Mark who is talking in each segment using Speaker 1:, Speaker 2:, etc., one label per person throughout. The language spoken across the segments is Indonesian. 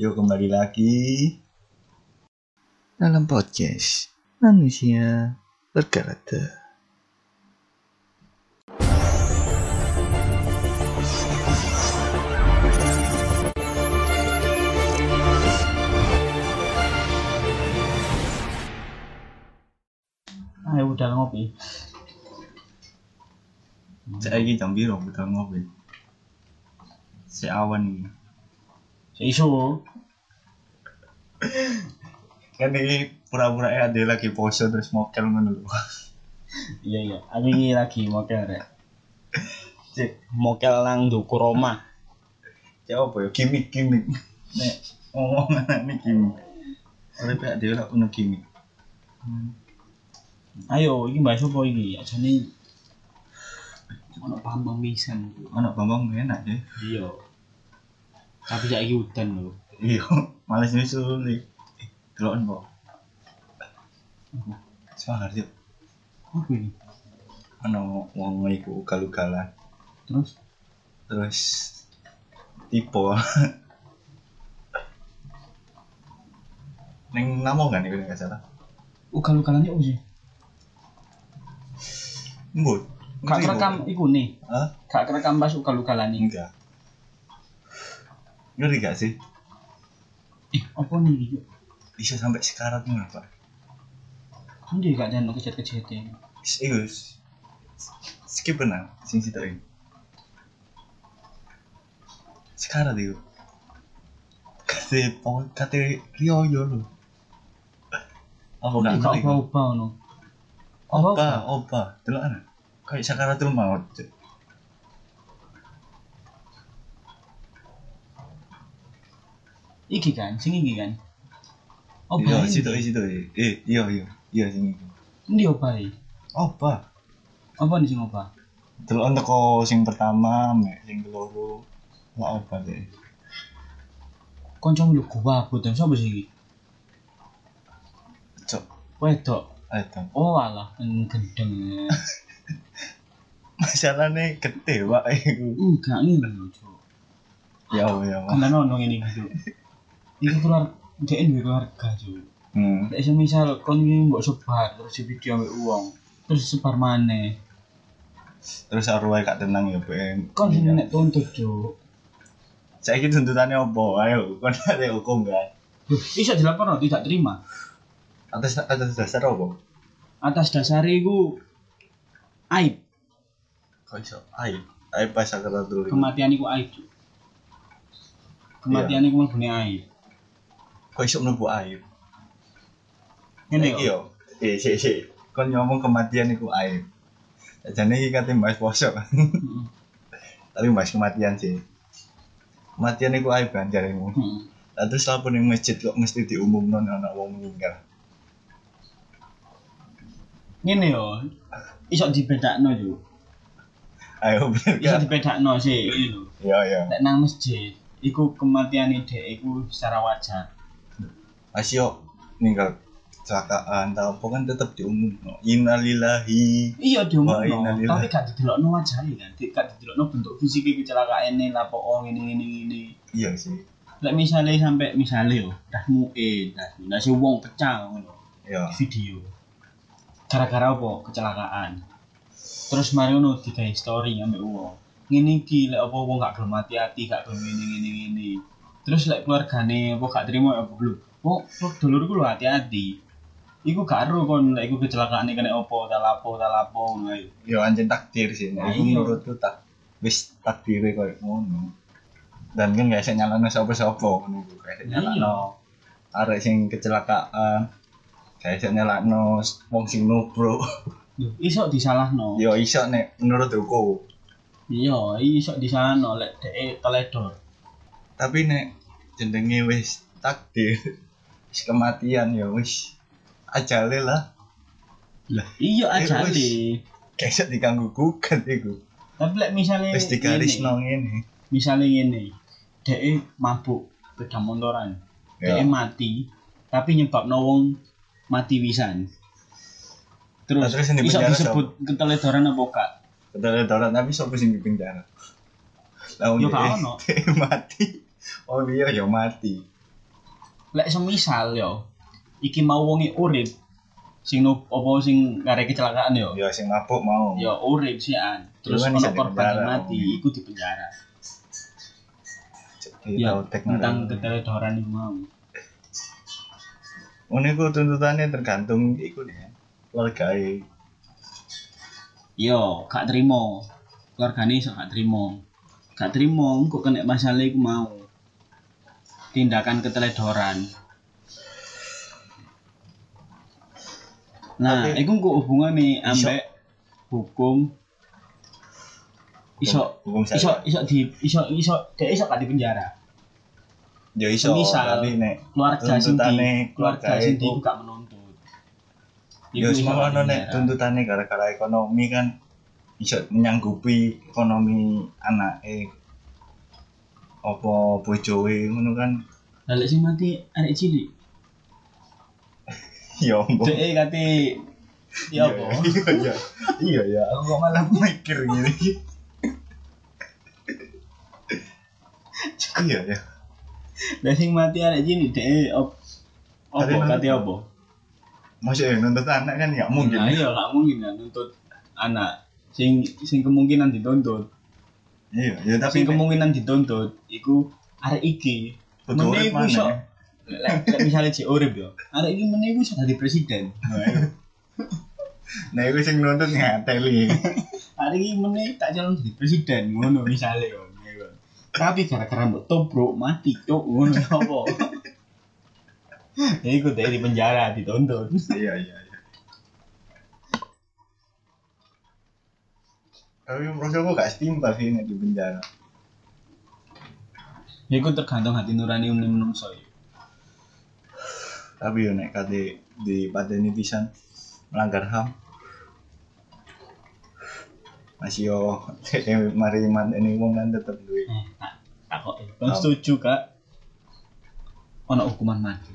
Speaker 1: Yuk kembali lagi dalam podcast manusia berkarakter.
Speaker 2: Ayo udah ngopi.
Speaker 1: Saya ini jam biru kita ngopi. Si awan ini.
Speaker 2: Isu.
Speaker 1: Kan ini pura-pura eh ada lagi poso terus mokel ngono lho.
Speaker 2: Iya iya. Aku ini lagi mokel rek. Cek mokel nang duku Roma.
Speaker 1: Ya apa ya gimmick-gimmick. Nek ngomong anak ini gimmick. Oleh pihak dia lah punya gimmick.
Speaker 2: Ayo, ini mbak sopo ini. Jadi ono pambang pisan.
Speaker 1: Anak Bambang enak deh.
Speaker 2: Iya. Tapi saiki udan lho.
Speaker 1: Iya, males nyusul nih. Eh, Deloken kok. Semangat yuk.
Speaker 2: Apa ini?
Speaker 1: Ono wong iku ugal-ugalan.
Speaker 2: Terus
Speaker 1: Terus lah. tipe Neng namo kan iku nek gak salah.
Speaker 2: ugal-ugalannya opo sih?
Speaker 1: Mbut.
Speaker 2: Kak rekam iku nih.
Speaker 1: Hah?
Speaker 2: Kak rekam pas ugal-ugalan ini.
Speaker 1: Enggak. Ngeri gak sih?
Speaker 2: Ih, Eh, apa nih?
Speaker 1: Bisa sampai sekarat ngono, Pak.
Speaker 2: Kan dia gak ya. ada kejadian-kejadian.
Speaker 1: Is- Iku s- skip benar sing situ ini. Sekarat iku. Kate pokok kate Rio yo lho. Apa gak
Speaker 2: Gak
Speaker 1: ngerti? Nah, iku?
Speaker 2: apa-apa ono.
Speaker 1: Opa, opa, delok ana. Kayak sakaratul maut. Cuk.
Speaker 2: Iki kan, sing iki kan.
Speaker 1: Iya,
Speaker 2: Obai.
Speaker 1: situ situ. Eh, iya iya. Iya sing iku.
Speaker 2: Ndi obai?
Speaker 1: Opa.
Speaker 2: Apa nih sing obai?
Speaker 1: Delok teko sing pertama, mek sing keloro. Lah opa deh.
Speaker 2: Kancamu lho gua abot sapa sih iki?
Speaker 1: Cok,
Speaker 2: Wedok.
Speaker 1: ayo.
Speaker 2: Oh alah, mm, gendeng.
Speaker 1: Masalahnya gede, Pak. iku.
Speaker 2: Enggak ngene lho, Cuk.
Speaker 1: Ya Allah, ya Allah.
Speaker 2: Kan ono ngene iki, Cuk. Iki keluar dhek duwe keluarga, Cuk.
Speaker 1: Hmm.
Speaker 2: Nek semisal kon iki mbok sebar terus di video ambek wong, terus sebar maneh.
Speaker 1: terus arwah gak tenang ya PM
Speaker 2: Kon sing nek tuntut, Cuk.
Speaker 1: saya ini tuntutannya apa ayo kan ada hukum kan
Speaker 2: Loh, iso dilaporno tidak terima.
Speaker 1: atas atas dasar apa
Speaker 2: Atas dasar iku aib,
Speaker 1: kok iso ayo ayo pas aku dulu
Speaker 2: kematian iku aib, Cuk. Kematian iku mlebune aib.
Speaker 1: kok iso mlebu ayo
Speaker 2: Ngene kok.
Speaker 1: iya eh si si kan ngomong kematian iku ayo jadi ini katanya bahas poso kan
Speaker 2: Heeh.
Speaker 1: tapi bahas kematian sih kematian iku ayo kan jarimu
Speaker 2: Heeh.
Speaker 1: Lah terus lapor ning masjid kok mesti diumumno nek ana wong meninggal
Speaker 2: ngene yo iso dibedakno yo
Speaker 1: ayo bener
Speaker 2: iso
Speaker 1: kan
Speaker 2: dibedakno sih ngene lho
Speaker 1: iya iya
Speaker 2: nek nang masjid iku kematian dhek iku secara wajar
Speaker 1: Asio meninggal kecelakaan tau apa kan tetap diumumno innalillahi
Speaker 2: iya diumumno
Speaker 1: Wah, innalillahi.
Speaker 2: tapi gak didelokno wajare kan Di- gak didelokno bentuk fisike kecelakaane lapo oh ngene ngene ngene
Speaker 1: iya sih
Speaker 2: lek misale sampe misale yo dah muke dah dah si wong pecah ngono
Speaker 1: iya
Speaker 2: video gara-gara apa kecelakaan terus mari ngono digawe story ambek wong ngene iki lek apa wong gak gelem hati-hati gak gelem ngene ngene ngene terus lek keluargane apa gak trimo ya apa lho kok kok dulurku lho hati-hati iku gak ero kon lek iku kecelakaane kena apa ta lapo ta lapo ngono ae.
Speaker 1: iya anjen takdir sih nah,
Speaker 2: Nah,
Speaker 1: itu
Speaker 2: iya.
Speaker 1: menurutku tak wis takdire koyo ngono dan kan gak bisa nyalano sapa-sapa ngono iku gak bisa
Speaker 2: Iya.
Speaker 1: nyalano arek sing kecelakaan gak bisa nyalano wong sing nubruk
Speaker 2: Lho, iso disalahno
Speaker 1: yo iso nek menurut aku
Speaker 2: iya iso disalahno lek dhek teledor
Speaker 1: tapi nek jenenge wis takdir wis kematian ya wis ajale lah
Speaker 2: iya
Speaker 1: Eh,
Speaker 2: aja
Speaker 1: wis.
Speaker 2: deh
Speaker 1: gak bisa diganggu gugat iku
Speaker 2: tapi lek misalnya
Speaker 1: wis digarisno ngene
Speaker 2: misalnya ini dia mabuk sepeda motoran
Speaker 1: Ya.
Speaker 2: dia mati tapi nyebab wong mati wisan terus,
Speaker 1: Nah, terus yang
Speaker 2: bisa
Speaker 1: dipenjara
Speaker 2: disebut keteledoran apa kak
Speaker 1: Kedoran-kedoran tapi sopo sing di penjara. Lah
Speaker 2: Ya,
Speaker 1: wong
Speaker 2: gak
Speaker 1: dhek-
Speaker 2: ono.
Speaker 1: dhek mati. oh dia ya mati
Speaker 2: lek semisal yo iki mau wonge urip sing no, apa sing ngare kecelakaan yo
Speaker 1: ya sing mabuk mau
Speaker 2: ya urip sih an terus
Speaker 1: Cuman
Speaker 2: ono
Speaker 1: bisa
Speaker 2: korban yang
Speaker 1: dipenjara,
Speaker 2: mati
Speaker 1: wong.
Speaker 2: iku di penjara
Speaker 1: Jadi
Speaker 2: ya
Speaker 1: tahu teknologi.
Speaker 2: tentang keteledoran yang mau
Speaker 1: Ini ku tuntutannya tergantung iku nih keluarga
Speaker 2: yo gak terima keluargane iso gak terima gak terima engko kena masalah iku mau tindakan keteledoran nah
Speaker 1: Tapi-
Speaker 2: iku engko hubungane
Speaker 1: Iso.
Speaker 2: ambek hukum iso
Speaker 1: hukum saya
Speaker 2: iso iso di iso iso dia iso gak di penjara
Speaker 1: ya iso
Speaker 2: Misal.
Speaker 1: tapi nek
Speaker 2: keluarga sing
Speaker 1: Tuntutane
Speaker 2: di keluarga
Speaker 1: keluarga
Speaker 2: sing di
Speaker 1: iku.
Speaker 2: iku gak menuntut
Speaker 1: ya
Speaker 2: Iku iso
Speaker 1: semua
Speaker 2: gak
Speaker 1: ono nek
Speaker 2: dipenjara.
Speaker 1: tuntutannya gara-gara ekonomi kan iso menyanggupi ekonomi anake apa bojoe ngono kan
Speaker 2: Lah, lek sing mati arek cilik
Speaker 1: ya ombo
Speaker 2: Dek kate ya apa?
Speaker 1: Iya, iya iya ya aku kok malah mikir gini iya ya
Speaker 2: Lah sing mati arek cilik dek op apa
Speaker 1: Arek
Speaker 2: kate
Speaker 1: nuntut.
Speaker 2: apa?
Speaker 1: maksudnya nuntut anak kan nggak mungkin
Speaker 2: Nah, iya gak mungkin kan nuntut anak sing sing kemungkinan dituntut.
Speaker 1: iya ya tapi
Speaker 2: Sing kemungkinan dituntut iku arek iki.
Speaker 1: Kudu urip
Speaker 2: Mene iku
Speaker 1: maneh.
Speaker 2: iso lek lek misale jek urip yo. Arek iki mene iku iso dadi presiden.
Speaker 1: nah itu sing nuntut ngateli
Speaker 2: Arek iki mene tak calon dadi presiden ngono misale yo. Tapi gara-gara mbok tobrok mati cuk ngono ya apa? Ya iku dek di penjara dituntut.
Speaker 1: iya iya iya tapi proses aku gak setimpal sih nek di penjara
Speaker 2: Ya iku tergantung hati nurani umum menungso ya.
Speaker 1: tapi yo nek kate di pateni pisan melanggar ham masih yo eh, mari mateni wong kan tetep duwe
Speaker 2: Eh, tak takok. Kon setuju Kak? Ono hukuman mati.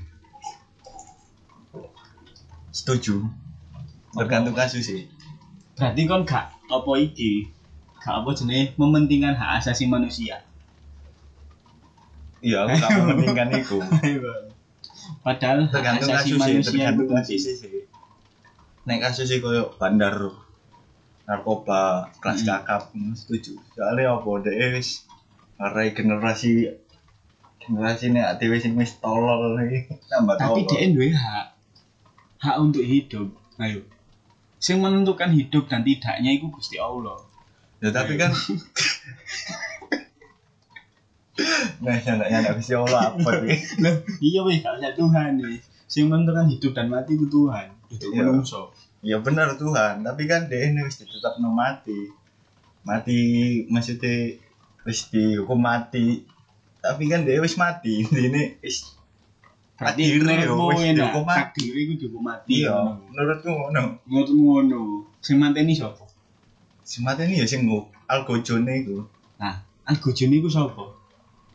Speaker 1: setuju tergantung kasus sih
Speaker 2: Berarti kon gak apa iki? Gak apa jenenge mementingkan hak asasi manusia.
Speaker 1: iya aku gak mementingkan iku
Speaker 2: Padahal hak
Speaker 1: tergantung
Speaker 2: asasi
Speaker 1: kasus sih
Speaker 2: manusia itu kan.
Speaker 1: tergantung
Speaker 2: penting.
Speaker 1: kasus sih nek kasus sih koyo bandar narkoba kelas
Speaker 2: Hmm.
Speaker 1: kakap hmm, setuju soalnya apa deh wis ngarai generasi generasi nek ati wis wis tolol iki tambah
Speaker 2: Tapi
Speaker 1: tolol.
Speaker 2: dia duwe hak. Hak untuk hidup. Ayo. Sing menentukan hidup dan tidaknya itu Gusti Allah.
Speaker 1: ya tapi kan nah nyanda nyanda bisa olah apa sih
Speaker 2: Loh, iya wis gak usah Tuhan wis. Sing menentukan hidup dan mati itu Tuhan. Itu
Speaker 1: Iya.
Speaker 2: menungso.
Speaker 1: ya benar Tuhan tapi kan dia ini wis tetap mati mati maksudnya wis dihukum mati tapi kan dia wis mati ini wis
Speaker 2: Berarti
Speaker 1: Takdir
Speaker 2: menurutmu
Speaker 1: ya, wis
Speaker 2: enak,
Speaker 1: dihukum mati.
Speaker 2: takdir itu dihukum mati.
Speaker 1: iya menurutku ngono
Speaker 2: Menurutmu ngono. Sing manteni sapa?
Speaker 1: si mati ini ya sing ngu- algojone itu
Speaker 2: Nah, algojone iku sapa?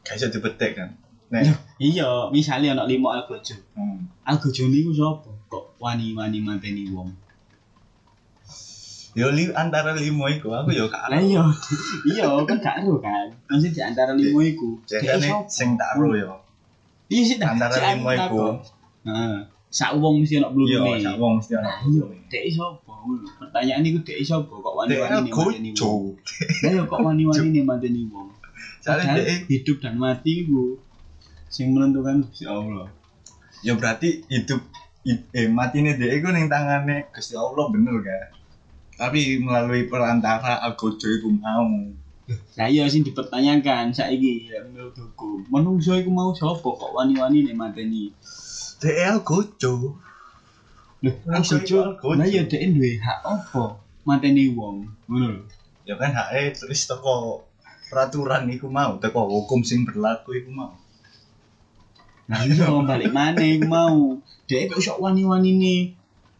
Speaker 1: gak bisa dipetik kan nek
Speaker 2: Iya, misalnya ana lima algojo.
Speaker 1: hmm.
Speaker 2: Algojone iku sapa? Kok wani-wani manteni wong?
Speaker 1: ya li, antara limo iku aku ya gak
Speaker 2: Lah iya. Iya, kan gak ero kan. Maksud di antara lima iku. dia
Speaker 1: jadinya
Speaker 2: sapa?
Speaker 1: sing tak ro ya
Speaker 2: Iya sih dah.
Speaker 1: antara
Speaker 2: Cek aku
Speaker 1: limo iku
Speaker 2: takut. Heeh. Sak wong mesti
Speaker 1: iya
Speaker 2: ana blulune.
Speaker 1: sak wong mesti ana
Speaker 2: Nah, iya. Dek sapa? Pertanyaan iku dek sapa? Kok
Speaker 1: dia
Speaker 2: wani-wani manteni wong?
Speaker 1: algojo
Speaker 2: Lah iya, kok wani-wani nih manteni wong?
Speaker 1: soalnya dia
Speaker 2: Padahal hidup dan mati bu sing menentukan Gusti Allah.
Speaker 1: ya berarti hidup hid- eh mati ini dia itu neng tangannya Gusti Allah bener kan tapi melalui perantara algojo itu mau
Speaker 2: Lah iya sing dipertanyakan saiki lek menurut hukum. Manungsa iku mau sapa kok wani-wani nek mateni.
Speaker 1: dia algojo
Speaker 2: Lho,
Speaker 1: Manungsa iku
Speaker 2: algojo.
Speaker 1: algojo.
Speaker 2: Lah iya dhek duwe hak apa mateni wong. Ngono lho.
Speaker 1: ya kan haknya terus teko peraturan itu mau teko hukum sing berlaku itu mau
Speaker 2: Nah iya balik maneh iku mau. Dhek kok sok wani-wanine,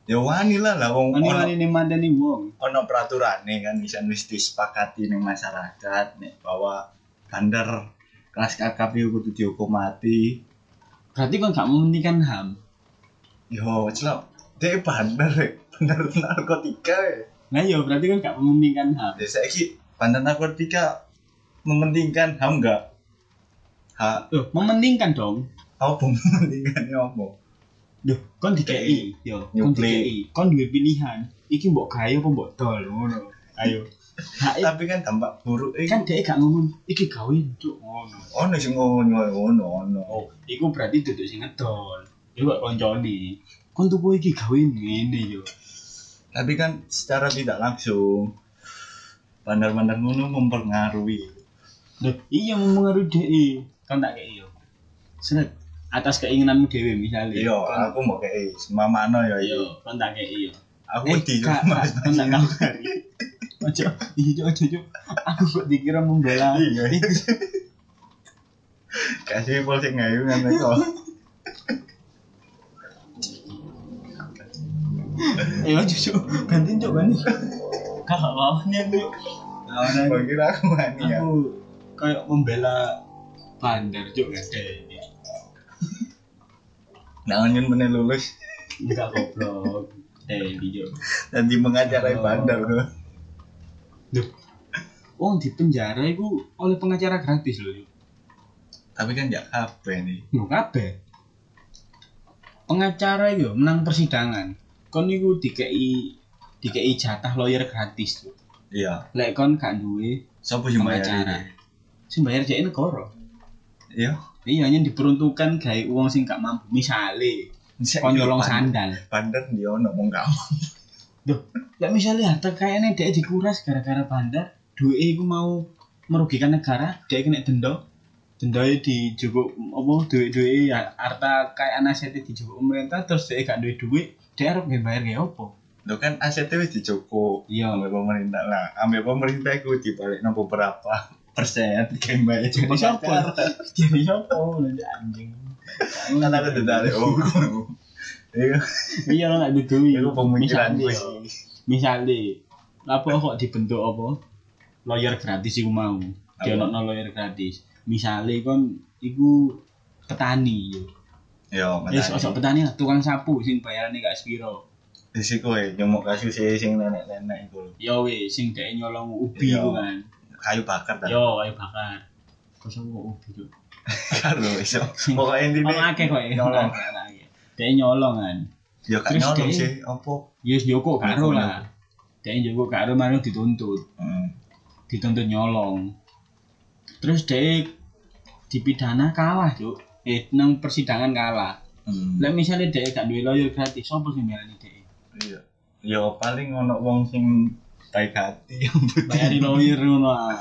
Speaker 1: ya wani lah lah wong ono
Speaker 2: wani-wanine mateni wong.
Speaker 1: ono peraturan nih kan bisa wis disepakati neng masyarakat nih bahwa bandar kelas kakap itu kudu dihukum mati
Speaker 2: Berarti kon gak mementingkan HAM.
Speaker 1: yo celok dia bandar ya bandar narkotika ya
Speaker 2: Lah iya berarti kon gak mementingkan HAM.
Speaker 1: Ya saiki bandar narkotika mementingkan ham enggak? ha
Speaker 2: Loh, mementingkan dong.
Speaker 1: apa mendingan ya apa
Speaker 2: Loh, kon dikei, yo, kon
Speaker 1: Nyuplek.
Speaker 2: dikei. Kon duwe pilihan. Iki mbok gawe apa mbok dol ngono. Ayo. Hak e
Speaker 1: tapi kan dampak buruk eh
Speaker 2: kan dhek gak ngomong iki gawe entuk ngono.
Speaker 1: ono sing ngono ngono ono
Speaker 2: Oh, iku berarti duduk sing ngedol. Iku kok koncone. Kon tuku iki gawe ngene yo.
Speaker 1: tapi kan secara tidak langsung bandar-bandar ngono mempengaruhi
Speaker 2: Loh, iya mempengaruhi dhek. Kon tak kei yo. Seret atas keinginanmu dhewe misalnya.
Speaker 1: iya
Speaker 2: Kon-
Speaker 1: aku mau kayak mamano ya iya
Speaker 2: Iya, kon tak kei yo.
Speaker 1: aku
Speaker 2: Eh,
Speaker 1: di
Speaker 2: Kak,
Speaker 1: rumah
Speaker 2: Kak, kan tak tahu hari. Ojo, iya ojo ojo. Aku kok dikira membela.
Speaker 1: Iya. kasih pol sing ngayu ngene kok
Speaker 2: Eh ojo ojo, gantiin cok ganti. Kakak lawannya
Speaker 1: Iya.
Speaker 2: aku. Lawannya aku.
Speaker 1: Kok kira aku mani ya
Speaker 2: Aku kayak membela bandar cok gak ada ini.
Speaker 1: nah nyen meneh lulus
Speaker 2: Enggak goblok. Eh iya.
Speaker 1: dan di mengajarai
Speaker 2: Oh.
Speaker 1: bandar loh
Speaker 2: Oh di penjara itu oleh pengacara gratis loh. Cuk.
Speaker 1: tapi kan gak kabeh nih
Speaker 2: Lho kabeh. Pengacara itu menang persidangan. Kon itu dikei dikei jatah lawyer gratis tuh.
Speaker 1: iya
Speaker 2: lek kon gak duwe
Speaker 1: sapa sing
Speaker 2: Pengacara.
Speaker 1: bayar
Speaker 2: sing bayar jek negara
Speaker 1: iya
Speaker 2: iya hanya diperuntukkan gawe uang sing gak mampu misale kon nyolong sandal
Speaker 1: bandar dia ono mong gak
Speaker 2: lek misale harta kayane dhek dikuras gara-gara bandar duwe iku mau merugikan negara dhek kena denda dendae dijukuk apa duwe-duwe harta kayaan asetnya dijukuk pemerintah terus dhek gak duwe duit dhek arep nggih bayar nggih opo
Speaker 1: lo kan asetnya wis dicukup
Speaker 2: iya
Speaker 1: ambil pemerintah lah ambil pemerintah aku dibalik nopo berapa persen gambar itu
Speaker 2: jadi siapa jadi siapa anjing
Speaker 1: kan aku tidak ada
Speaker 2: oh.
Speaker 1: hukum iya
Speaker 2: iya lo gak ada duit
Speaker 1: Iku pemikiran
Speaker 2: Misalnya,
Speaker 1: gue
Speaker 2: yo. misalnya apa kok dibentuk apa lawyer gratis iku mau
Speaker 1: Apa?
Speaker 2: dia no lawyer gratis misalnya kon iku petani yo
Speaker 1: iya
Speaker 2: eh sosok petani lah tukang sapu sing bayarane gak sepiro
Speaker 1: di situ ya nyemuk kasih si sing nenek nenek itu lho.
Speaker 2: yo weh sing dhek nyolong ubi
Speaker 1: Iya.
Speaker 2: iku kan
Speaker 1: kayu bakar dah
Speaker 2: yo ayo bakar kosong kok ubi yo
Speaker 1: karo iso pokoknya
Speaker 2: ono
Speaker 1: intinya
Speaker 2: akeh kok ya.
Speaker 1: nyolong.
Speaker 2: Ono akeh. dhek nyolong kan
Speaker 1: ya kan
Speaker 2: Terus
Speaker 1: nyolong
Speaker 2: dia-
Speaker 1: sih opo
Speaker 2: yo joko
Speaker 1: Nyolong.
Speaker 2: karo lah dhek joko karo mari dituntut
Speaker 1: Hmm.
Speaker 2: dituntut Gitu nyolong terus dia dipidana kalah cuk eh nang persidangan kalah
Speaker 1: Hmm.
Speaker 2: lah misalnya dia gak duwe lawyer gratis sopo sing bayarani dia
Speaker 1: iya ya paling ono wong sing baik hati
Speaker 2: bayari lawyer ngono ah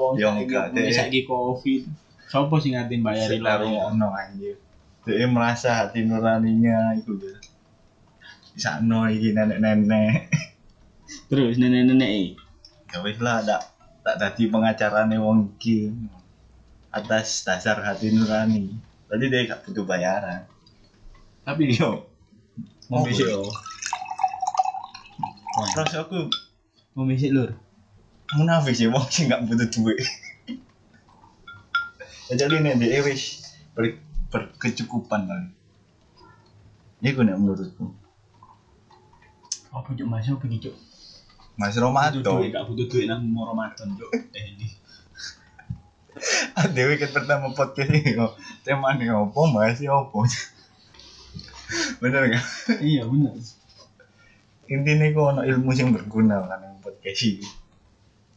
Speaker 2: wong
Speaker 1: Ya,
Speaker 2: saiki-
Speaker 1: enggak, Dek.
Speaker 2: wong saiki covid sopo sing ngatin bayari
Speaker 1: sekarang ya.
Speaker 2: lawyer
Speaker 1: ono anjir dia merasa hati nuraninya itu ya sakno iki nenek-nenek
Speaker 2: terus nenek-nenek eh.
Speaker 1: ya wis lah tak tak dadi pengacarane wong iki atas dasar hati nurani tadi dia gak butuh bayaran tapi yo
Speaker 2: mau
Speaker 1: Iya, Apa
Speaker 2: besok
Speaker 1: ya?
Speaker 2: yo
Speaker 1: terus aku
Speaker 2: mau besok lur
Speaker 1: munafik sih wong sing gak butuh duit Ya, jadi nek dia wis ber, berkecukupan kali ini gue nek menurutku
Speaker 2: apa cuk mas apa iki cuk
Speaker 1: Mas
Speaker 2: butuh
Speaker 1: Romanto
Speaker 2: duit gak butuh duit nang mau Ramadan cuk Eh, ini.
Speaker 1: Dewi kan pertama podcast ini kok tema nih opo mas opo bener gak
Speaker 2: iya bener
Speaker 1: intinya kok ono ilmu yang berguna kan yang podcast ini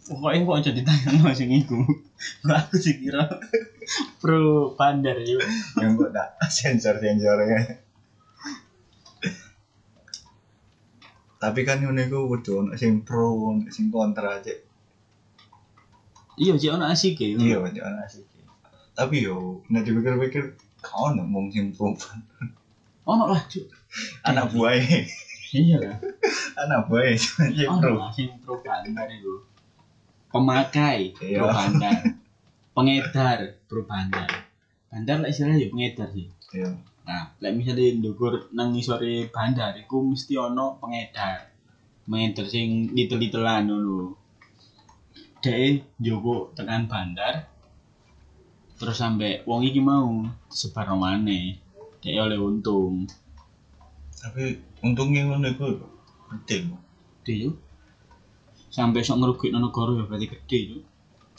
Speaker 2: Pokoknya kok aja ditanya sing iku. Kok aku sih kira pro bandar yo.
Speaker 1: yang kok dak sensor sensornya tapi kan ini kok udah ono sing pro ono sing kontra aja
Speaker 2: Iya, sih ono asik ya.
Speaker 1: iya aja ono sih tapi yo nek dipikir-pikir kau ono mung sing pro
Speaker 2: Ono lah, Cuk.
Speaker 1: anak buahnya
Speaker 2: Iya lah.
Speaker 1: anak buahnya sing
Speaker 2: Ono
Speaker 1: pro
Speaker 2: lah sing pro bandar iku. Pemakai
Speaker 1: Iya.
Speaker 2: pro bandar. Pengedar pro bandar. Bandar lah istilahnya ya pengedar sih.
Speaker 1: Iya.
Speaker 2: Nah, lek misalnya ndukur nang ngisore bandar iku mesti ono pengedar. Pengedar sing litel-litelan dulu. Dek njogo tekan bandar. Terus sampe wong iki mau sebar maneh. Dek oleh untung.
Speaker 1: tapi untungnya ngono iku penting
Speaker 2: Gede yo. Sampe sok ngerugikno negara ya berarti gede yo.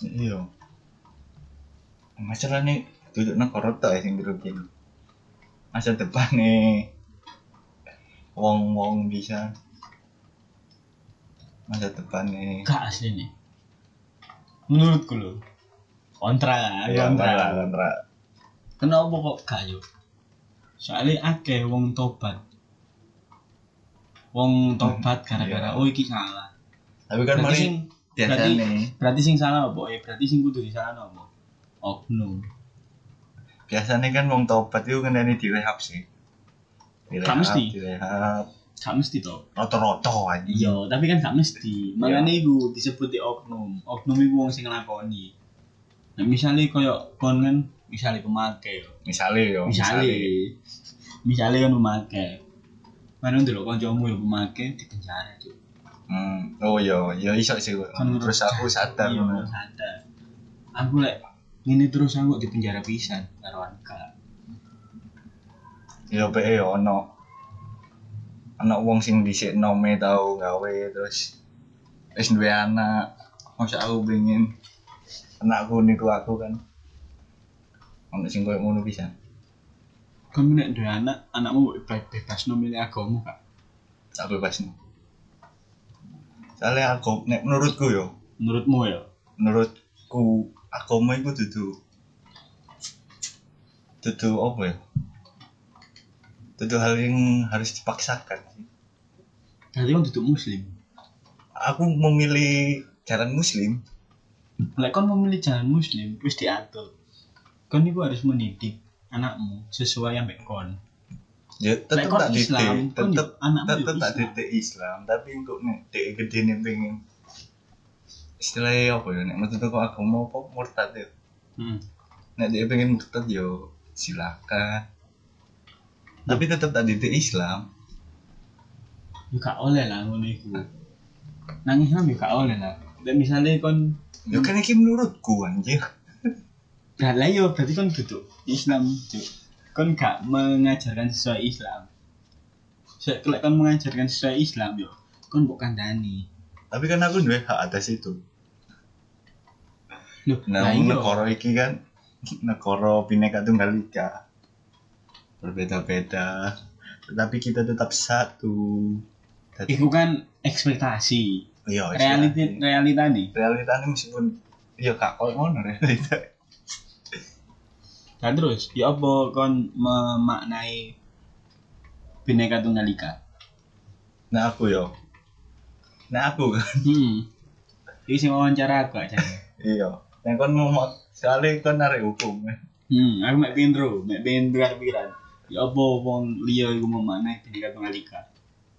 Speaker 1: Iya. Masalahnya duduk negara tok sing dirugin masa depane wong-wong bisa masa depane
Speaker 2: Gak asli nih. Menurutku lo. Kontra kan,
Speaker 1: ya
Speaker 2: kontra.
Speaker 1: kontra kontra
Speaker 2: Kenapa kok gak yuk? Soalnya akeh wong tobat. Wong tobat gara-gara
Speaker 1: iya.
Speaker 2: oh iki salah.
Speaker 1: tapi kan
Speaker 2: Berarti
Speaker 1: mari
Speaker 2: sing berarti-
Speaker 1: biasane
Speaker 2: berarti sing salah apa? Eh berarti sing kudu di salah apa? Oknum.
Speaker 1: biasane kan wong tobat iku ngenteni direhab sih direhab
Speaker 2: mesti.
Speaker 1: direhab
Speaker 2: Gak mesti toh.
Speaker 1: rata-rata aja
Speaker 2: Iya, tapi kan gak mesti. Makanya iku disebut di oknum. Oknum iku wong sing nglakoni. Nah, misalnya koyo kon kan misalnya pemakai yo.
Speaker 1: misale yo
Speaker 2: misalnya misalnya kan pemakai mana dulu kancamu yang pemakai di penjara tuh
Speaker 1: Hmm, oh iya, ya iso sih. Terus aku sadar
Speaker 2: iya,
Speaker 1: ngono.
Speaker 2: sadar aku lek ini terus aku di penjara pisan karuan gak
Speaker 1: Ya pe ya ono. Ono wong sing dhisik nome tau gawe terus wis duwe anak. Masa aku pengen anakku niru aku kan. Ono sing koyo ngono pisan.
Speaker 2: kamu Kan nek dua anak anakmu bebas bebas no milih agama kak
Speaker 1: Tak bebas nih. Soalnya aku nek menurutku yo,
Speaker 2: menurutmu ya
Speaker 1: menurutku agama iku dudu dudu apa ya dudu hal yang harus dipaksakan sih
Speaker 2: berarti kan duduk muslim
Speaker 1: aku memilih jalan muslim
Speaker 2: lek kon memilih jalan muslim wis diatur kon iku harus mendidik anakmu sesuai yang kon
Speaker 1: ya
Speaker 2: lek
Speaker 1: tetep
Speaker 2: kon
Speaker 1: tak
Speaker 2: Islam
Speaker 1: didik
Speaker 2: kon
Speaker 1: tetep
Speaker 2: yo- anakmu ya yo
Speaker 1: tetep tak
Speaker 2: Islam.
Speaker 1: didik Islam tapi untuk nek dek gede nih pengen istilahnya apa ya nek maksudnya kok agama apa murtad ya
Speaker 2: Hmm.
Speaker 1: nek dia pengen murtad yo silakan tapi tetep tak didik Islam
Speaker 2: ya gak oleh lah ngono iku. Nang Islam ya gak oleh lah. Dan misalnya kon
Speaker 1: ya kan
Speaker 2: Hmm.
Speaker 1: ini menurutku anjir
Speaker 2: gak Nah, lah yo berarti kon duduk Islam cuk. Kon gak mengajarkan sesuai Islam. Sek lek kon mengajarkan sesuai Islam yo kon mbok kandhani.
Speaker 1: tapi kan aku duwe hak atas itu
Speaker 2: Loh,
Speaker 1: nah
Speaker 2: lah
Speaker 1: wong
Speaker 2: iya.
Speaker 1: negara iki kan negara bineka tunggal ika berbeda-beda tetapi kita tetap satu Dadi-
Speaker 2: Iku kan ekspektasi.
Speaker 1: iya
Speaker 2: Realita
Speaker 1: istilahnya.
Speaker 2: realita nih.
Speaker 1: realita ini meskipun iya kak kok ngono realita
Speaker 2: Dan terus ya apa kon memaknai Bhinneka Tunggal Ika?
Speaker 1: nah aku yo nah aku
Speaker 2: Hmm. Iki sing wawancara aku aja.
Speaker 1: iya yang kon ngomong soalnya kon narik hukum
Speaker 2: Hmm, aku mek pengen bro, mek pengen dengar pikiran. Ya apa wong liya iku memaknai pendidikan pengalika?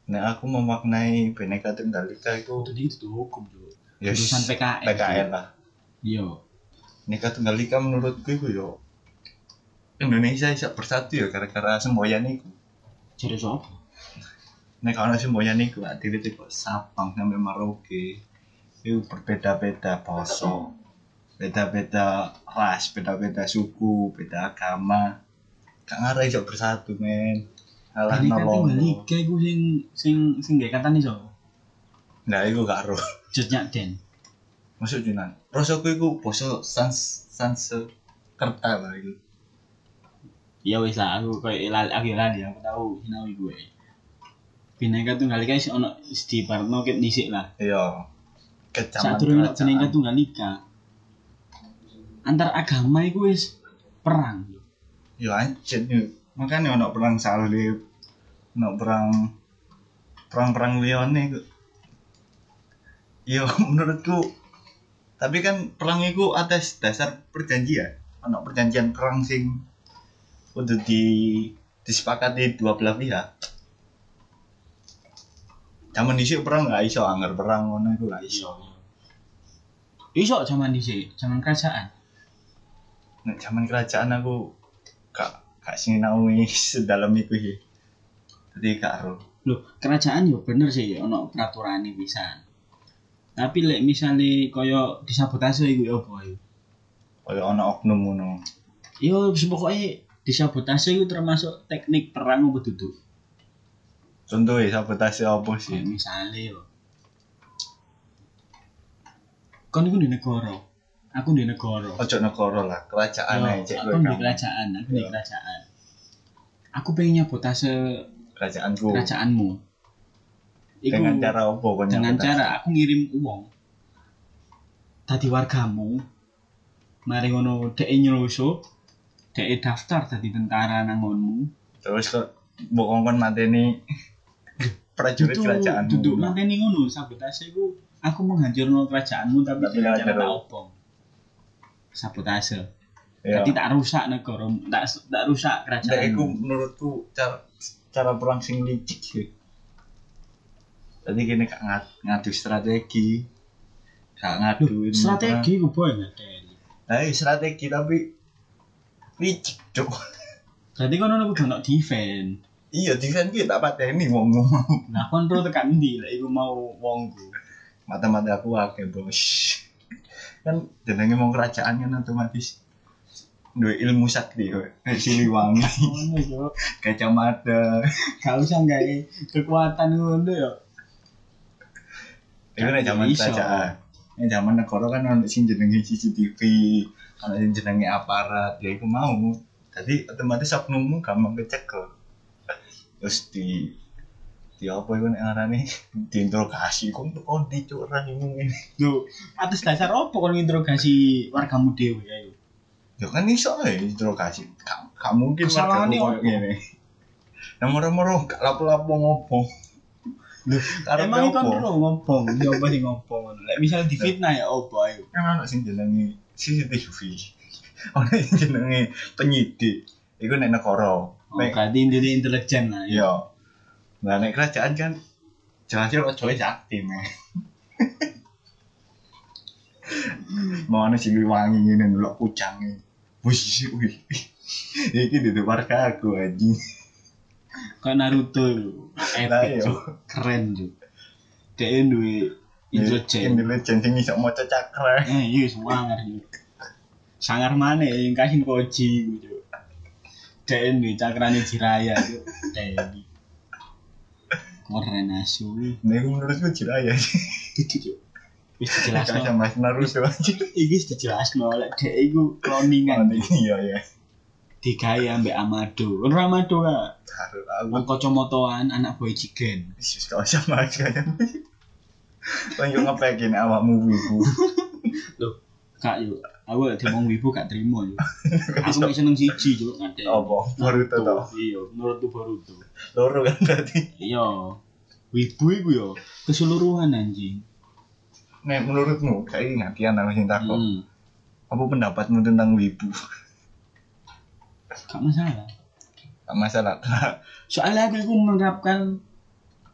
Speaker 1: nah aku memaknai bineka tunggal ika itu
Speaker 2: Kudu itu tuh hukum juga.
Speaker 1: yes,
Speaker 2: Urusan PKN.
Speaker 1: PKN lah
Speaker 2: Iya.
Speaker 1: Nikah tunggal ika menurutku itu yo Indonesia bisa bersatu ya gara-gara semboyan itu.
Speaker 2: Jadi sapa?
Speaker 1: Nek ana semboyan iku adile kok Sabang sampai Merauke. Itu berbeda-beda basa. Beda-beda ras, beda-beda suku, beda agama. Gak ngarep iso bersatu, men. Alah
Speaker 2: Pendidikan
Speaker 1: nolong.
Speaker 2: pengalika kan iku sing sing sing gak kata nih sapa?
Speaker 1: Nah, iku gak roh.
Speaker 2: Jejak den.
Speaker 1: Masuk Yunan. Rasaku iku basa sans sans kerta lah iku.
Speaker 2: Ya wis lah aku koyo lali aku ya lali aku tahu sinau iku wae. Bhinneka Tunggal Ika sih ono di Parno ket dhisik lah.
Speaker 1: Iya. Kecaman.
Speaker 2: Saat turun
Speaker 1: kerajaan.
Speaker 2: Bhinneka Tunggal Ika. Antar agama iku wis perang.
Speaker 1: yo anjir yo Ya makanya ono perang salib ono perang perang perang lione ku yo Ya, menurutku tapi kan perang itu atas dasar perjanjian ono perjanjian perang sing udah di disepakati dua belah pihak Zaman dhisik perang gak iso anger perang ngono iku gak iso.
Speaker 2: Iso zaman dhisik, zaman kerajaan.
Speaker 1: Nek zaman kerajaan aku gak gak sinau sedalam iku sih. Jadi gak ero.
Speaker 2: Loh, kerajaan yo bener sih ono peraturannya pisan. Tapi lek misale kaya disabotase iku yo apa ya? yo?
Speaker 1: kaya ana oknum ngono.
Speaker 2: Yo wis pokoke disabotase iku termasuk teknik perang apa duduk. Ya,
Speaker 1: Contohe sabotase apa
Speaker 2: Kayak
Speaker 1: sih?
Speaker 2: misale yo. Kon iku di negara. aku di negara
Speaker 1: ojo negara lah kerajaan
Speaker 2: Yo,
Speaker 1: aja Oh, cek
Speaker 2: aku
Speaker 1: kowe
Speaker 2: di
Speaker 1: kamu.
Speaker 2: kerajaan aku di
Speaker 1: Yo.
Speaker 2: kerajaan aku pengen nyabotase
Speaker 1: kerajaanku
Speaker 2: kerajaanmu
Speaker 1: Oh.
Speaker 2: Iku-
Speaker 1: dengan cara apa kau
Speaker 2: dengan
Speaker 1: nyabotase?
Speaker 2: cara aku ngirim uang tadi wargamu mari ngono dek nyelosok dek daftar tadi tentara nangonmu
Speaker 1: terus kok bokong kon mateni prajurit kerajaan
Speaker 2: duduk nanti ngono sabotase ku aku menghancurkan kerajaanmu tapi
Speaker 1: Tapi
Speaker 2: dengan
Speaker 1: nggak
Speaker 2: cara
Speaker 1: ada.
Speaker 2: tak obong sabotase
Speaker 1: ya
Speaker 2: jadi tak rusak negara tak tak
Speaker 1: Nah,
Speaker 2: rusak
Speaker 1: iku
Speaker 2: kerajaanmu
Speaker 1: menurutku cara cara perang sing licik sih jadi gini kak ngat, ngadu strategi kak ngadu ini
Speaker 2: strategi ya, ku boy ngadeni.
Speaker 1: apa. nah, iya, strategi tapi licik cok
Speaker 2: berarti kono aku udah nak defend
Speaker 1: iya defense kita tak pateni wong ngomong
Speaker 2: nah kon pro tekan ndi lek iku mau wongku
Speaker 1: mata-mata aku akeh bos kan jenenge mau kerajaan kan otomatis duwe ilmu sakti kowe Eh, siliwangi
Speaker 2: ngono yo
Speaker 1: kacamata
Speaker 2: gak usah gawe kekuatan ngono ya. yo
Speaker 1: itu nek zaman
Speaker 2: Iso.
Speaker 1: kerajaan nek zaman negara kan ono sing jenenge CCTV ono sing jenenge aparat ya iku mau jadi otomatis oknummu gampang kecekel terus di di apa iku nek ngarani diinterogasi kok kok dicurang ini
Speaker 2: Lho, atas dasar apa kon nginterogasi wargamu dhewe ayo?
Speaker 1: Ya kan iso ae interogasi. Gak, gak mungkin
Speaker 2: Kesalahannya
Speaker 1: warga koyo
Speaker 2: apa?
Speaker 1: ngene. Nah moro-moro gak lapo-lapo ngopo.
Speaker 2: Lho,
Speaker 1: Karep
Speaker 2: Emang
Speaker 1: apa?
Speaker 2: kon ro ngobong, ya apa sih ngobong ngono. Lek misal difitnah ya apa ayo.
Speaker 1: Kan ana sing jenenge CCTV. Ana sing jenenge penyidik. Iku nek negara.
Speaker 2: Oh,
Speaker 1: Nek
Speaker 2: berarti intine intelijen lah ya.
Speaker 1: ya. Lah nek kerajaan kan jelasnya ojo wis aktif. meh. Mau ana sing wangi ngene ndelok kucange. Wis wis. Iki di warga aku anjing.
Speaker 2: Kayak Naruto itu.
Speaker 1: Lah,
Speaker 2: Epic
Speaker 1: iya.
Speaker 2: Cuk. keren tuh. Dek duwe intelijen.
Speaker 1: Intelijen sing iso maca cakra.
Speaker 2: Eh, iya sangar yo. Sangar mana yang kasih koji iku, Cuk. Dek duwe cakrane Jiraya yo. Dek. Keren asu.
Speaker 1: Nah, iku menurutku jiraya.
Speaker 2: Gitu, Cuk. Wis
Speaker 1: Jelas
Speaker 2: dijelasno.
Speaker 1: sama Mas Naruto aja.
Speaker 2: iki wis dijelasno lek dhek iku cloningan
Speaker 1: Iya ya.
Speaker 2: digawe ambek Amado. Ora Amado ka.
Speaker 1: Taruh aku
Speaker 2: Wong kacamataan anak boy jigen.
Speaker 1: sus kau sama aja. Lanjut ngepekin awakmu wibu.
Speaker 2: Kak yo, aku lek diomong wibu gak trimo yo. Aku mek seneng siji yo ngadek.
Speaker 1: Apa? Naruto to.
Speaker 2: Iya, Naruto Boruto.
Speaker 1: Loro kan berarti.
Speaker 2: Iya. Wibu iku ya? yo keseluruhan anjing.
Speaker 1: Nek menurutmu, saya ini ngatian aku sing takut.
Speaker 2: Hmm.
Speaker 1: Apa pendapatmu tentang wibu?
Speaker 2: Gak masalah.
Speaker 1: Gak masalah.
Speaker 2: Soalnya aku iku menerapkan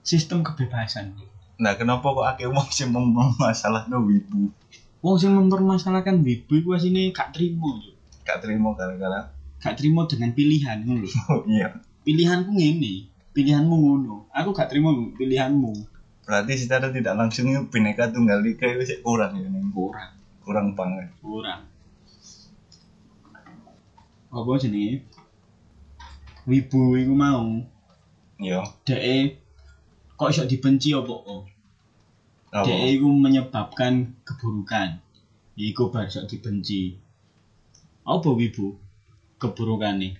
Speaker 2: sistem kebebasan.
Speaker 1: Nah, kenapa kok akeh wong sing ngomong masalah no wibu?
Speaker 2: Wong sing mempermasalahkan wibu iku asine gak trimo yo.
Speaker 1: Gak terima gara-gara.
Speaker 2: Gak trimo dengan pilihan ngono lho.
Speaker 1: Oh iya.
Speaker 2: pilihanku ngene pilihanmu ngono aku gak terima pilihanmu
Speaker 1: Berarti secara tidak langsung bineka tunggal ika itu sih kurang ya. Neng.
Speaker 2: kurang
Speaker 1: Kurang banget.
Speaker 2: kurang apa jenenge wibu iku mau
Speaker 1: Iya.
Speaker 2: dee kok iso dibenci apa oh
Speaker 1: Oh.
Speaker 2: dee iku menyebabkan keburukan iku bar iso dibenci apa wibu keburukan nih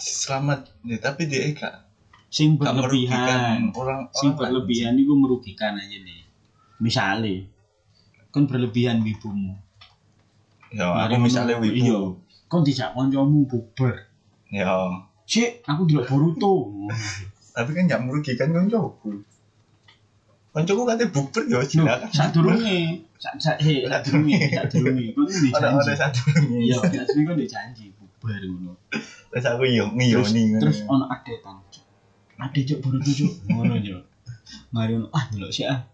Speaker 1: selamat ya, tapi dia gak
Speaker 2: sing
Speaker 1: gak merugikan
Speaker 2: berlebihan
Speaker 1: orang
Speaker 2: sing
Speaker 1: orang kan
Speaker 2: berlebihan iku merugikan aja nih misalnya kan berlebihan wibumu
Speaker 1: ya aku
Speaker 2: Mari Iya.
Speaker 1: misalnya
Speaker 2: ngono. Iya.
Speaker 1: wibu
Speaker 2: Kon dijak kancamu bubar.
Speaker 1: ya
Speaker 2: Cek, aku delok Boruto.
Speaker 1: tapi kan gak merugikan koncoku koncoku katanya bukber ya
Speaker 2: Loh,
Speaker 1: silakan
Speaker 2: sadurunge, sak sak he, sadurunge, sadurunge. Kon di
Speaker 1: ada ada
Speaker 2: janji. Ya,
Speaker 1: satu
Speaker 2: Iya,
Speaker 1: iya
Speaker 2: sadurunge kon di janji bubar ngono.
Speaker 1: terus aku yo
Speaker 2: Terus
Speaker 1: ngiyoni
Speaker 2: terus ono adetan. Cuk. Ade cuk Boruto cuk ngono yo. Mari ono ah delok sik ah.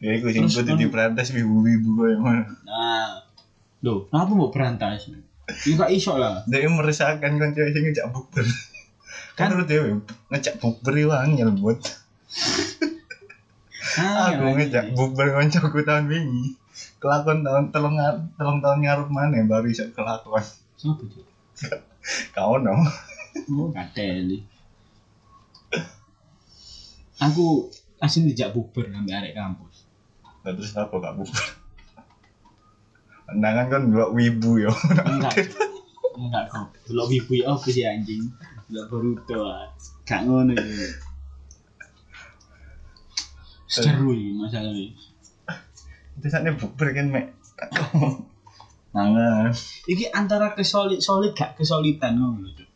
Speaker 1: ya iku sing
Speaker 2: terus
Speaker 1: kudu
Speaker 2: kon-
Speaker 1: diperantas wibu-wibu koyo ngono
Speaker 2: Nah. Lho, kenapa mbok berantas? Iku gak iso lah.
Speaker 1: dia meresahkan konco sing ngejak bukber kan
Speaker 2: Kan-
Speaker 1: terus dia ngejak bukber yo angel buat
Speaker 2: Ah,
Speaker 1: aku ngejak bukber koncoku tahun wingi kelakon tahun telung ngar- telung tahun ngarep mana baru iso kelakon
Speaker 2: Sopo cuk?
Speaker 1: kau no
Speaker 2: Oh, kateli. Aku asin dijak bubar ambil arek kampus.
Speaker 1: Nah, terus apa gak bubar? Pandangan kan delok wibu yo.
Speaker 2: enggak enggak kok delok wibu ya apa sih anjing delok Boruto ah. gak ngono ya seru ya masalah ini
Speaker 1: Itu saatnya bukber kan mek. Tak ngomong. Tangan.
Speaker 2: iki antara kesolid solid gak kesolidan ngono lho, Cuk.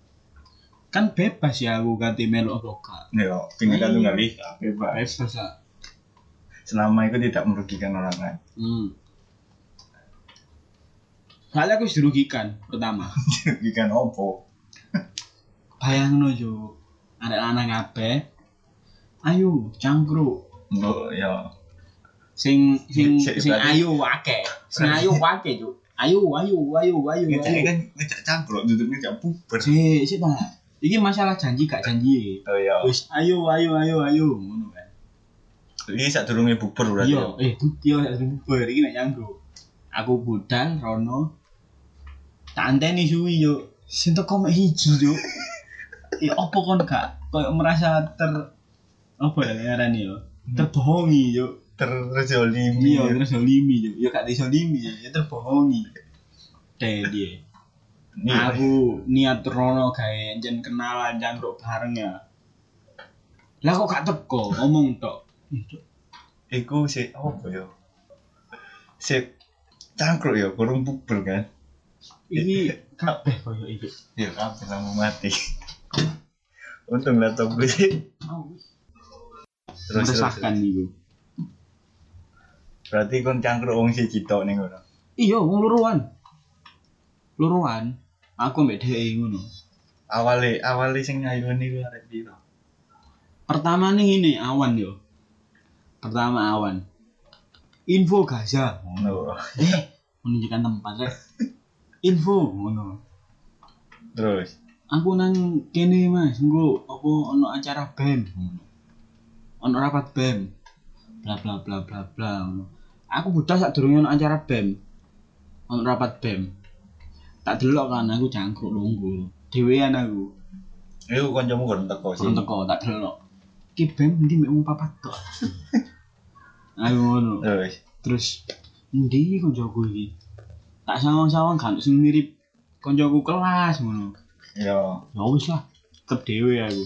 Speaker 2: kan bebas ya aku ganti melu apa gak
Speaker 1: Yo, tinggal Ya, tunggal ika, bebas.
Speaker 2: bebas ah
Speaker 1: Selama itu tidak merugikan orang lain.
Speaker 2: hmm. Soalnya aku wis dirugikan pertama
Speaker 1: Merugikan opo?
Speaker 2: bayangno yo arek lanang kabeh ayo cangkruk
Speaker 1: Mbok ya. yo.
Speaker 2: sing sing
Speaker 1: Sik,
Speaker 2: sing
Speaker 1: berarti-
Speaker 2: ayu akeh sing ayu akeh cuk ayu ayu ayu ayu
Speaker 1: Kita ini
Speaker 2: ayu
Speaker 1: kan ngejak cangkruk, duduknya ngejak bukber.
Speaker 2: sik sik ta iki masalah janji gak janji
Speaker 1: Oh iya.
Speaker 2: wis ayo ayo ayo ayo ngono kan
Speaker 1: Ini saat durungnya bukber berarti.
Speaker 2: iya eh bukti yo bubar iki nek nyanggo aku budal rono tak anteni suwi yo sing teko mek hiji yo ya apa kon gak koyo merasa ter apa ya ngarani yo
Speaker 1: Hmm.
Speaker 2: terbohongi yo
Speaker 1: Terzolimi.
Speaker 2: Iya, terus zolimi yo. Ya gak disolimi ya, ya terbohongi. Teh dia.
Speaker 1: Iya.
Speaker 2: Aku niat rono gawe jen kenalan jangkruk bareng ya. Lah kok gak teko ngomong tok. Ih, Cuk,
Speaker 1: Iku si apa ya? Si cangkruk ya, kurung bukber kan?
Speaker 2: Ini kabeh koyo iki.
Speaker 1: Ya kabeh sama mati. Untung laptop gue sih.
Speaker 2: Au,
Speaker 1: Terus terus.
Speaker 2: Meresahkan iku.
Speaker 1: Berarti kon cangkruk wong siji tok ning ngono.
Speaker 2: Iya, wong luruan. Luruan. Aku mbek dhek ngono.
Speaker 1: Awale awale sing ngayoni ku arek piro?
Speaker 2: Pertama nih ini awan yo. Pertama awan. Info Gaza.
Speaker 1: Ngono.
Speaker 2: eh menunjukkan tempat rek info ngono
Speaker 1: Terus
Speaker 2: aku nang kene mas nggo apa ono acara bem ngono. ono rapat bem bla bla bla bla bla ngono. aku budal sak durunge ono acara bem ono rapat bem tak delok kan aku cangkruk lungguh dhewean aku
Speaker 1: Iku kancamu kon teko sih.
Speaker 2: kurang teko tak delok ki bem ndi mek wong papat tok aku ngono
Speaker 1: Terus
Speaker 2: terus ndi koncoku iki tak sawang-sawang kan sing mirip koncoku kelas ngono
Speaker 1: ya
Speaker 2: ya wis lah tetep dhewe ya aku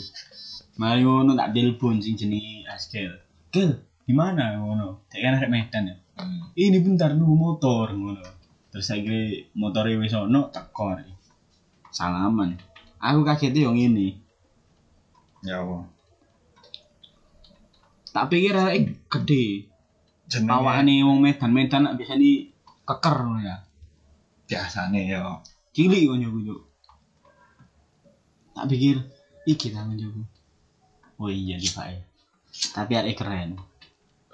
Speaker 2: mari ngono tak telepon sing jenenge Askel Kel di mana ngono dek kan arek Medan ya
Speaker 1: hmm.
Speaker 2: ini bentar nunggu motor ngono terus saya kira motornya wis ono tekor salaman aku kagetnya yang ini
Speaker 1: ya apa?
Speaker 2: tak pikir arek gede
Speaker 1: Jenenge
Speaker 2: awakane wong Medan Medan nak biasa nih keker ngono ya
Speaker 1: biasane ya.
Speaker 2: cilik kan jago Cuk. tak pikir iki tangan jago oh iya sih pak ya. tapi ada keren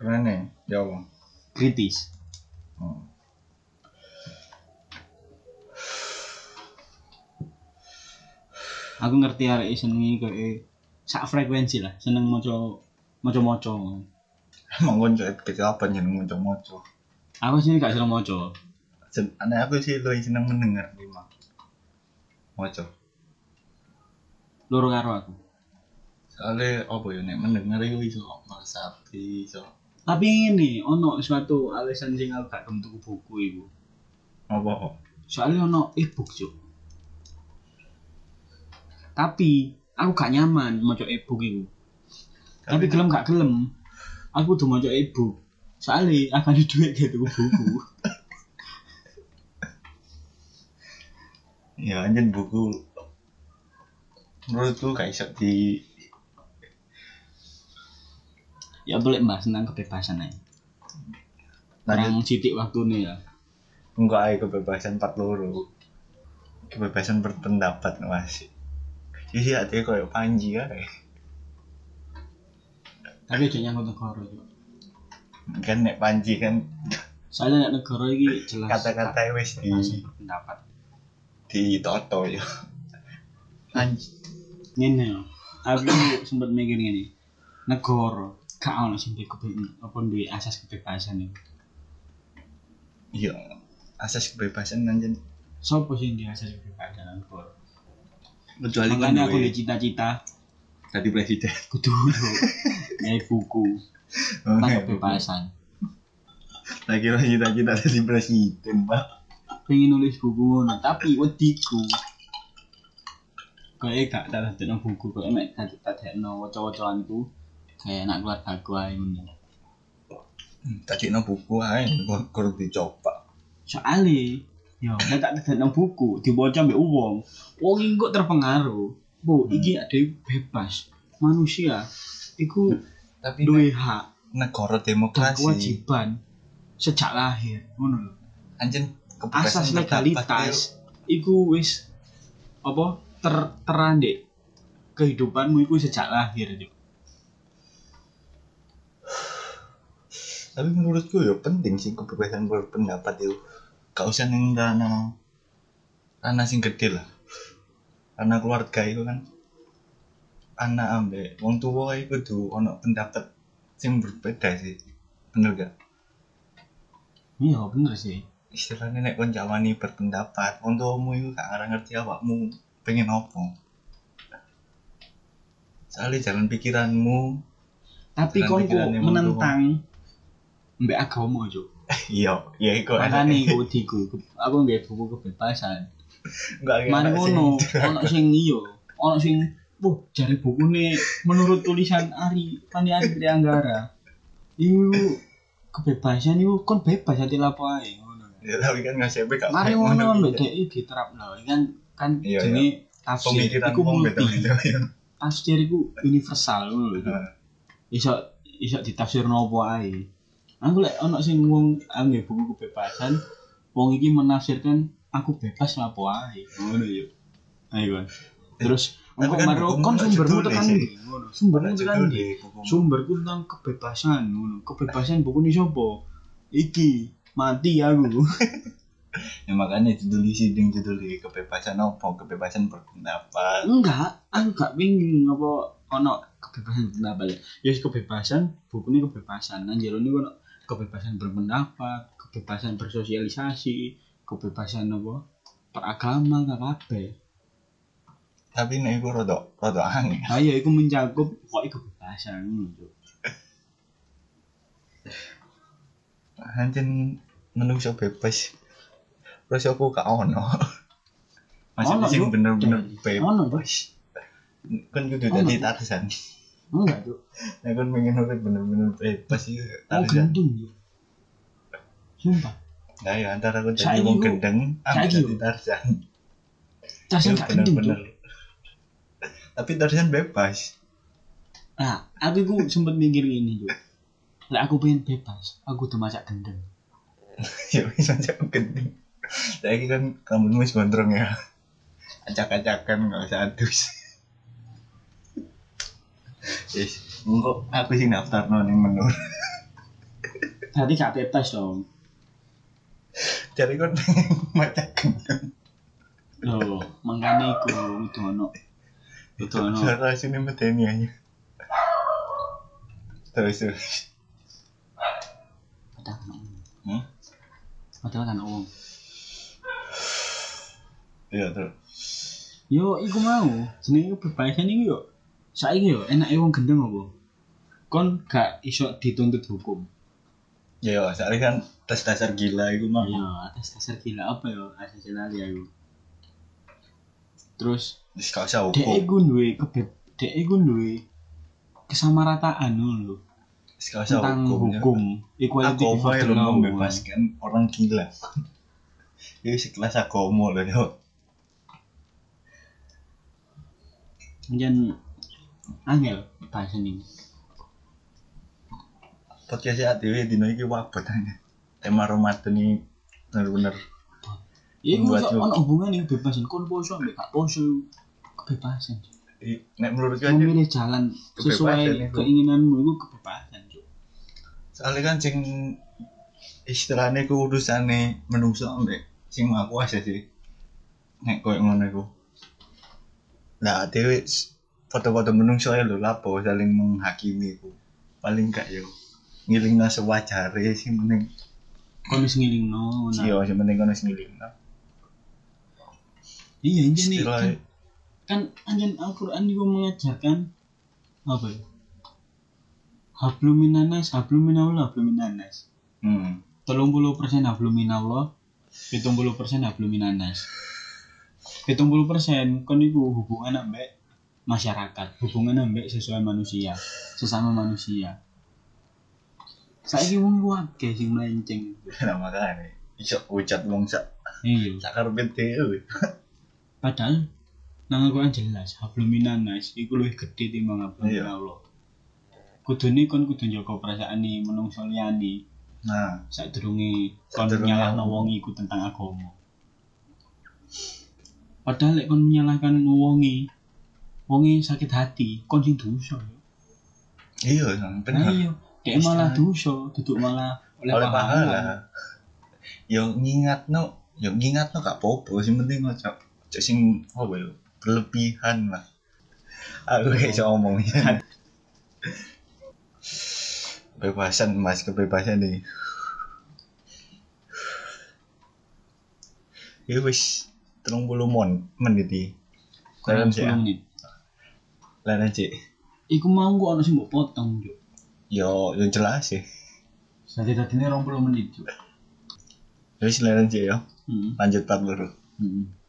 Speaker 1: Keren ya, ya apa?
Speaker 2: kritis
Speaker 1: Hmm.
Speaker 2: aku ngerti ada senengi kayak sak frekuensi lah seneng moco moco moco
Speaker 1: Emang kon kecil apa jeneng moco-moco.
Speaker 2: aku sini gak seneng moco
Speaker 1: Jen- Ane aku sih lebih seneng mendengar lima. Moco.
Speaker 2: loro karo aku
Speaker 1: soalnya apa ya nek mendengar itu iso meresapi iso
Speaker 2: tapi ini ono suatu alasan sing aku gak tentu buku ibu
Speaker 1: apa kok
Speaker 2: soalnya ono e-book cuk tapi aku gak nyaman maca e-book itu tapi gelem gak gelem aku udah maca e-book soalnya akan di duit gitu buku
Speaker 1: ya anjen buku menurutku gak iso di
Speaker 2: ya boleh mbak tentang kebebasan aja
Speaker 1: lanjut
Speaker 2: yang sidik waktu ya
Speaker 1: enggak ae kebebasan part loro kebebasan berpendapat masih jadi hati koyo panji ya
Speaker 2: tapi aja nyangkut negara Cuk.
Speaker 1: kan nek panji kan
Speaker 2: soalnya nek negara ini jelas
Speaker 1: kata-kata wis di
Speaker 2: kebebasan pendapat
Speaker 1: ditoto ya panji
Speaker 2: ini ya aku sempat mikir gini negara gak ono sing duwe kebebasan apa duwe asas kebebasan itu
Speaker 1: iya asas kebebasan anjen
Speaker 2: Sopo sih dia asas kebebasan negara
Speaker 1: kecuali kan
Speaker 2: makanya aku
Speaker 1: duwe
Speaker 2: udah cita-cita
Speaker 1: tadi presiden
Speaker 2: kudu nyai buku tentang kebebasan
Speaker 1: lagi lagi tadi tadi presiden mbak
Speaker 2: pengen nulis buku ngono tapi wediku kayak gak tak dadekno buku kayak mek gak tak dadekno waca-wacaanku kayak anak keluarga aku ae ngono Hmm.
Speaker 1: Tadi no buku aja, kur kur dicoba.
Speaker 2: soalnya yo gak tak dadekno buku dibaca mbek wong wong iki kok terpengaruh bu iki ada yang bebas manusia iku
Speaker 1: Tapi
Speaker 2: duwe hak
Speaker 1: negara
Speaker 2: dan
Speaker 1: demokrasi,
Speaker 2: kewajiban sejak lahir ngono lho
Speaker 1: anjen kebebasan
Speaker 2: asas
Speaker 1: pendapat,
Speaker 2: legalitas iku wis apa ter terandek kehidupanmu iku sejak lahir Dik.
Speaker 1: yuk. Tapi menurutku ya penting sih kebebasan berpendapat itu. Gak usah neng ranah ranah sing gede lah. Ranah keluarga itu kan anak ambek wong tua itu kudu ono pendapat sing berbeda sih. Bener gak?
Speaker 2: iya bener sih
Speaker 1: istilahnya nek kon jawani berpendapat untukmu itu gak ngarang ngerti awakmu pengen apa soalnya jalan pikiranmu Jalan
Speaker 2: tapi kon ku
Speaker 1: pikirannya mau
Speaker 2: menentang mbek agama yo
Speaker 1: iya iya iku
Speaker 2: makane iku diku aku nggak buku kebebasan
Speaker 1: enggak
Speaker 2: mari ngono ono sing iyo ono sing Wah, jari buku nih menurut tulisan Ari Pani Ari Trianggara Iku kebebasan itu kon bebas hati lapo ae ngono
Speaker 1: ya tapi kan ngasih ebe gak
Speaker 2: Mari
Speaker 1: kayak
Speaker 2: ngono
Speaker 1: ngono
Speaker 2: mbek dhek diterapno. Iki kan kan
Speaker 1: Iya,
Speaker 2: jenenge tafsir
Speaker 1: pemikiran
Speaker 2: iku
Speaker 1: wong
Speaker 2: multi.
Speaker 1: beda-beda ya.
Speaker 2: Tafsir iku universal ngono lho.
Speaker 1: Heeh.
Speaker 2: Iso iso ditafsirno apa ae. Aku lek ono sing wong angge buku kebebasan, wong iki menafsirkan aku bebas lah apa ae. Ngono yo. Ayo. Terus
Speaker 1: Eh, Tapi kan
Speaker 2: engko maro
Speaker 1: bukumu
Speaker 2: kon
Speaker 1: ono
Speaker 2: sumbermu
Speaker 1: judulnya
Speaker 2: tekan
Speaker 1: sih.
Speaker 2: ndi? Ngono. Sumbermu
Speaker 1: Ono Nah,
Speaker 2: tekan
Speaker 1: judul
Speaker 2: ndi?
Speaker 1: di bukumu.
Speaker 2: Sumberku tentang kebebasan ngono. Kebebasan buku ini sapa? Iki mati aku.
Speaker 1: ya makanya judul isi ding judul di kebebasan apa kebebasan berpendapat
Speaker 2: enggak aku gak pingin apa ono kebebasan pendapat ya yes, kebebasan buku ini kebebasan nah jero ini ono kebebasan berpendapat kebebasan bersosialisasi kebebasan apa peragama gak apa
Speaker 1: tapi nek iku rada rada aneh
Speaker 2: nah ya itu mencakup pokoknya kebebasan ngono, Cuk.
Speaker 1: anjen menungso bebas terus aku gak ono maksudnya
Speaker 2: Ono,
Speaker 1: sing
Speaker 2: Cuk.
Speaker 1: bener-bener bebas
Speaker 2: ono Cuk.
Speaker 1: kan kudu
Speaker 2: Ono.
Speaker 1: dadi Tarzan
Speaker 2: enggak tuh
Speaker 1: ya kan pengen urip bener-bener bebas iki
Speaker 2: oh
Speaker 1: Tarzan
Speaker 2: gendeng Cuk. sumpah
Speaker 1: nah ya antara aku
Speaker 2: Saiki
Speaker 1: jadi wong
Speaker 2: ku-
Speaker 1: gendeng ambek
Speaker 2: saiki
Speaker 1: dadi
Speaker 2: ku-
Speaker 1: Tarzan
Speaker 2: tasnya
Speaker 1: Iku
Speaker 2: gak gendeng
Speaker 1: Iya,
Speaker 2: Cuk.
Speaker 1: bener-bener tapi Tarzan bebas
Speaker 2: Nah, aku ku sempet mikir ini tuh. Lah aku pengen bebas, aku udah macak gendeng.
Speaker 1: ya bisa jauh gendeng saiki kan rambutmu wis gondrong ya acak-acakan gak usah adus Yes, engko aku sing daftar ning menur.
Speaker 2: Berarti gak bebas dong.
Speaker 1: Jadi kan macam gendeng.
Speaker 2: Loh, makanya iku kudu ono. Kudu ono.
Speaker 1: Cara sini medeni aja. Terus terus.
Speaker 2: Padahal kan ono.
Speaker 1: Hmm?
Speaker 2: Padahal kan ono.
Speaker 1: Iya terus.
Speaker 2: Yo, iku mau. Jenenge kebebasan iku yo. Saiki yo enake wong gendeng apa? Kon gak iso dituntut hukum.
Speaker 1: Ya, sehari kan tes dasar gila itu mah.
Speaker 2: Yo, Iya, atas dasar gila apa yo? Asas lali aku. Terus
Speaker 1: Terus gak usah
Speaker 2: dek
Speaker 1: hukum.
Speaker 2: iku duwe kebe dek iku duwe kesamarataan lho
Speaker 1: Terus gak usah
Speaker 2: tentang
Speaker 1: hukum. ya.
Speaker 2: hukum, equality
Speaker 1: Aku
Speaker 2: before
Speaker 1: mau
Speaker 2: the
Speaker 1: yang
Speaker 2: law.
Speaker 1: membebaskan orang gila. Ini sekelas agomo loh yo.
Speaker 2: Jangan angel bahasa ini.
Speaker 1: Podcast ya dewe dino iki wabot aja. Tema Ramadan ini bener-bener
Speaker 2: Ya iku
Speaker 1: Membuat
Speaker 2: iso
Speaker 1: lu-
Speaker 2: ono hubungan yang kebebasan kon poso ambek gak poso kebebasan.
Speaker 1: i- nek menurutku aja
Speaker 2: Memilih jalan
Speaker 1: Ya, Kebebasan ya,
Speaker 2: sesuai
Speaker 1: itu.
Speaker 2: keinginanmu itu kebebasan, Cuk.
Speaker 1: soalnya kan sing istilahnya keurusane menungso ambek sing aku aja sih nek koyo ngono iku nah dhewe s- foto-foto menungso ya lho lapo saling menghakimi iku paling gak yo ngilingna sewajare sing penting
Speaker 2: Kon wis ngelingno. nah.
Speaker 1: iya sing penting kono sing ngilingna
Speaker 2: Iya ini
Speaker 1: istilahnya
Speaker 2: kan anjen Al-Qur'an juga mengajarkan apa ya? Hablum minanas, hablum minallah, hablum minanas.
Speaker 1: hmm
Speaker 2: 30% hablum minallah, pitung puluh persen belum minanas pitung puluh persen kon iku hubungan ambek masyarakat hubungan ambek sesuai manusia sesama manusia saiki wong wake sing melenceng
Speaker 1: Nah, makanya iso ucat wong sak
Speaker 2: iya
Speaker 1: sak karpet dhewe.
Speaker 2: padahal nang Al-Quran jelas hablum minanas iku luwih gedhe timbang hablum
Speaker 1: Iya.
Speaker 2: min Allah kudune kon kudu njaga perasaan ni menungso liyane
Speaker 1: Nah,
Speaker 2: sadurunge kon
Speaker 1: Sadurunge.
Speaker 2: nyalahno wong iku tentang agama padahal lek kon menyalahkan wonge wonge sakit hati kon sing dosa ya.
Speaker 1: iya Sang.
Speaker 2: nah
Speaker 1: bener.
Speaker 2: iya dhek malah
Speaker 1: Mesti.
Speaker 2: dosa duduk malah oleh,
Speaker 1: Oleh
Speaker 2: pahala,
Speaker 1: pahala. Yo ngingatno, yo ngingatno gak popo, sing penting ojo ojo sing apa yo berlebihan lah. Aku gak iso ngomong ya. Kebebasan mas, kebebasan nih. Ya wis, 30 mon menit iki.
Speaker 2: kurang
Speaker 1: Dalam sih,
Speaker 2: 10
Speaker 1: ya.
Speaker 2: menit
Speaker 1: Lan aja.
Speaker 2: iku mau kok ana sing mbok potong yo
Speaker 1: Yo, yo jelas sih.
Speaker 2: Jadi tadi ini 20 menit, Cuk.
Speaker 1: Ya wis lan aja yo.
Speaker 2: Hmm.
Speaker 1: Lanjut part loro.
Speaker 2: Hmm.